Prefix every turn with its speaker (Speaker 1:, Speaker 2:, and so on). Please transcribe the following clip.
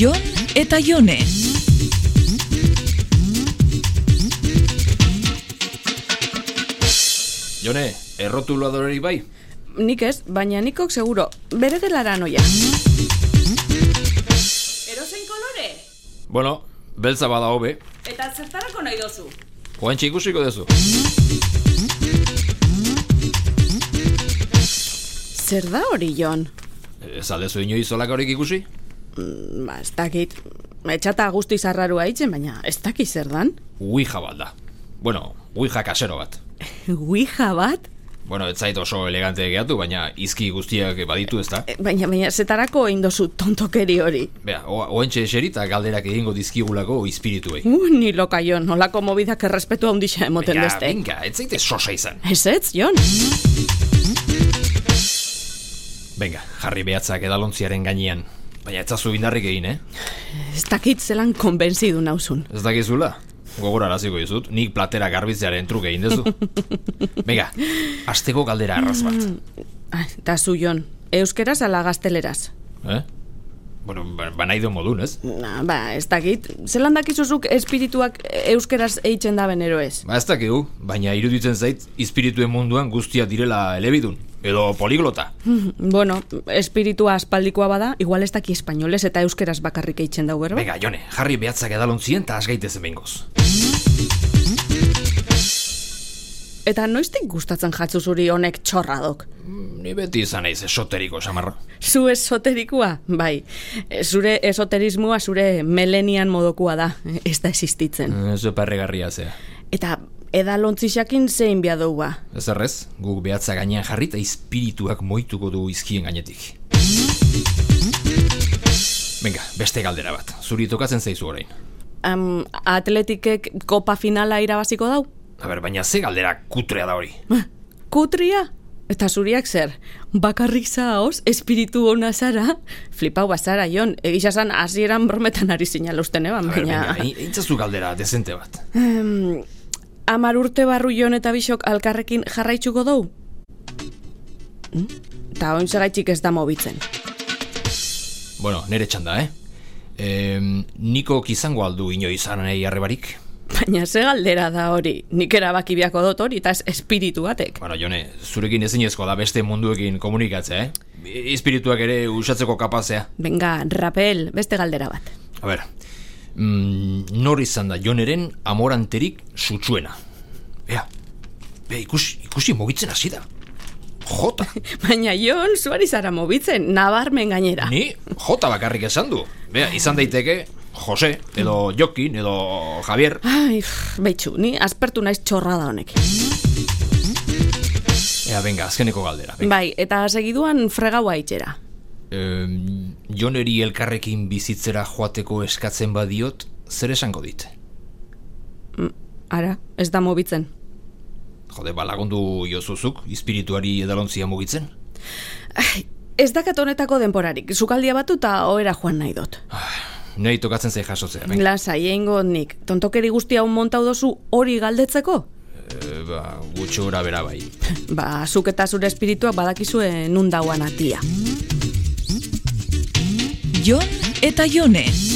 Speaker 1: Jon eta Jone.
Speaker 2: Jone, errotuladorari bai?
Speaker 3: Nik ez, baina nikok seguro, bere gelara noia.
Speaker 4: Erozein kolore?
Speaker 2: Bueno, beltza bada hobe.
Speaker 4: Eta zertarako nahi dozu?
Speaker 2: Oantxe ikusiko duzu.
Speaker 3: Zer da hori, Jon?
Speaker 2: Ez aldezu inoiz olakorik ikusi?
Speaker 3: Mm, Ba, ez dakit. Etxata guzti zarrarua itzen, baina ez dakit zer dan.
Speaker 2: Ouija bat da. Bueno, ouija kasero bat.
Speaker 3: Ouija bat?
Speaker 2: Bueno, ez zait oso elegante gehatu, baina izki guztiak baditu ez da.
Speaker 3: E, Baina, baina, zetarako indozu tontokeri hori.
Speaker 2: Bea, o- oantxe eserita galderak egingo dizkigulako izpirituei.
Speaker 3: Uh, ni loka, Jon, olako mobidak errespetu handixa emoten
Speaker 2: Ja,
Speaker 3: deste.
Speaker 2: venga, ez zaite sosa izan.
Speaker 3: Ez ez, Jon?
Speaker 2: Venga, jarri behatzak edalontziaren gainean. Baina etzazu indarrik egin, eh?
Speaker 3: Ez dakit zelan konbentzidu nauzun.
Speaker 2: Ez dakizula? Gogoraraziko dizut, nik platera garbitzearen truke egin dezu. Venga, asteko galdera arraz bat.
Speaker 3: Ah, Eta zu, Jon, euskeraz ala gazteleraz.
Speaker 2: Eh? Bueno, ba, ba nahi du modun, ez?
Speaker 3: Na, ba, ez dakit, zelan dakizuzuk espirituak euskeraz eitzen da benero ez.
Speaker 2: Ba ez dakigu, baina iruditzen zait izpirituen munduan guztia direla elebidun, edo poliglota.
Speaker 3: bueno, espiritua aspaldikoa bada, igual ez daki espainolez eta euskeraz bakarrik eitzen dau, berba?
Speaker 2: Venga, Jone, jarri behatzak edalontzien eta asgaitezen bengoz.
Speaker 3: Eta noiztik gustatzen jatzu zuri honek txorradok?
Speaker 2: Mm, Ni beti izan naiz esoteriko, samarra.
Speaker 3: Zu esoterikua? Bai, e, zure esoterismoa zure melenian modokua da, ez da existitzen.
Speaker 2: Eh, Ez eparregarria zea.
Speaker 3: Eta edalontzisakin zein bia dugu ba?
Speaker 2: Ez errez, guk behatza gainean jarri eta izpirituak moituko du izkien gainetik. Venga, beste galdera bat. Zuri tokatzen zaizu orain.
Speaker 3: Am, atletikek kopa finala irabaziko dau?
Speaker 2: A ber, baina ze galdera kutrea da hori.
Speaker 3: Kutria? Eta zuriak zer? Bakarrik zaoz, espiritu ona zara? Flipau bazara, Jon. Egisa zan, hasieran brometan ari sinalosten eban,
Speaker 2: A ber,
Speaker 3: baina...
Speaker 2: venga, egin- eintzazu galdera dezente bat.
Speaker 3: Em, Amar urte barru Jon eta bisok alkarrekin Hmm? jarraitzuko dugu? Eta oin segaitik ez da mobitzen.
Speaker 2: Bueno, nere txanda, eh? Em, niko izango aldu ino izan nahi arrebarik?
Speaker 3: Baina ze galdera da hori, nik erabaki biako dut hori, eta ez espiritu batek.
Speaker 2: Bueno, Jone, zurekin ezinezkoa da beste munduekin komunikatzea, eh? Espirituak ere usatzeko kapazea.
Speaker 3: Benga, rapel, beste galdera bat.
Speaker 2: A ber, mm, nor izan da Joneren amoranterik sutsuena. Ea, ea ikusi, ikusi mugitzen hasi da. Jota,
Speaker 3: Baina Jon, zuari zara mobitzen, nabarmen gainera.
Speaker 2: ni jota bakarrik esan du. Bea, izan daiteke Jose, edo Jokin, edo Javier.
Speaker 3: Ai, pff, betxu, ni aspertu naiz txorrada honek.
Speaker 2: Ea, venga, azkeneko galdera. Venga.
Speaker 3: Bai, eta segiduan fregaua itxera.
Speaker 2: Em, joneri elkarrekin bizitzera joateko eskatzen badiot, zer esango dit?
Speaker 3: Ara, ez da mobitzen.
Speaker 2: Jode, ba, lagundu jozuzuk, espirituari edalontzia mugitzen?
Speaker 3: Ez dakat honetako denporarik, sukaldia batu eta ohera joan nahi dut.
Speaker 2: Nei tokatzen zait jasotzea, venga.
Speaker 3: Lasai, egingo dut nik, tontokeri guzti hau montau dozu hori galdetzeko?
Speaker 2: E, ba, gutxi gora bera bai.
Speaker 3: Ba, zuk eta zure espirituak eh, badakizue nun dauan atia.
Speaker 1: Jon eta Jone.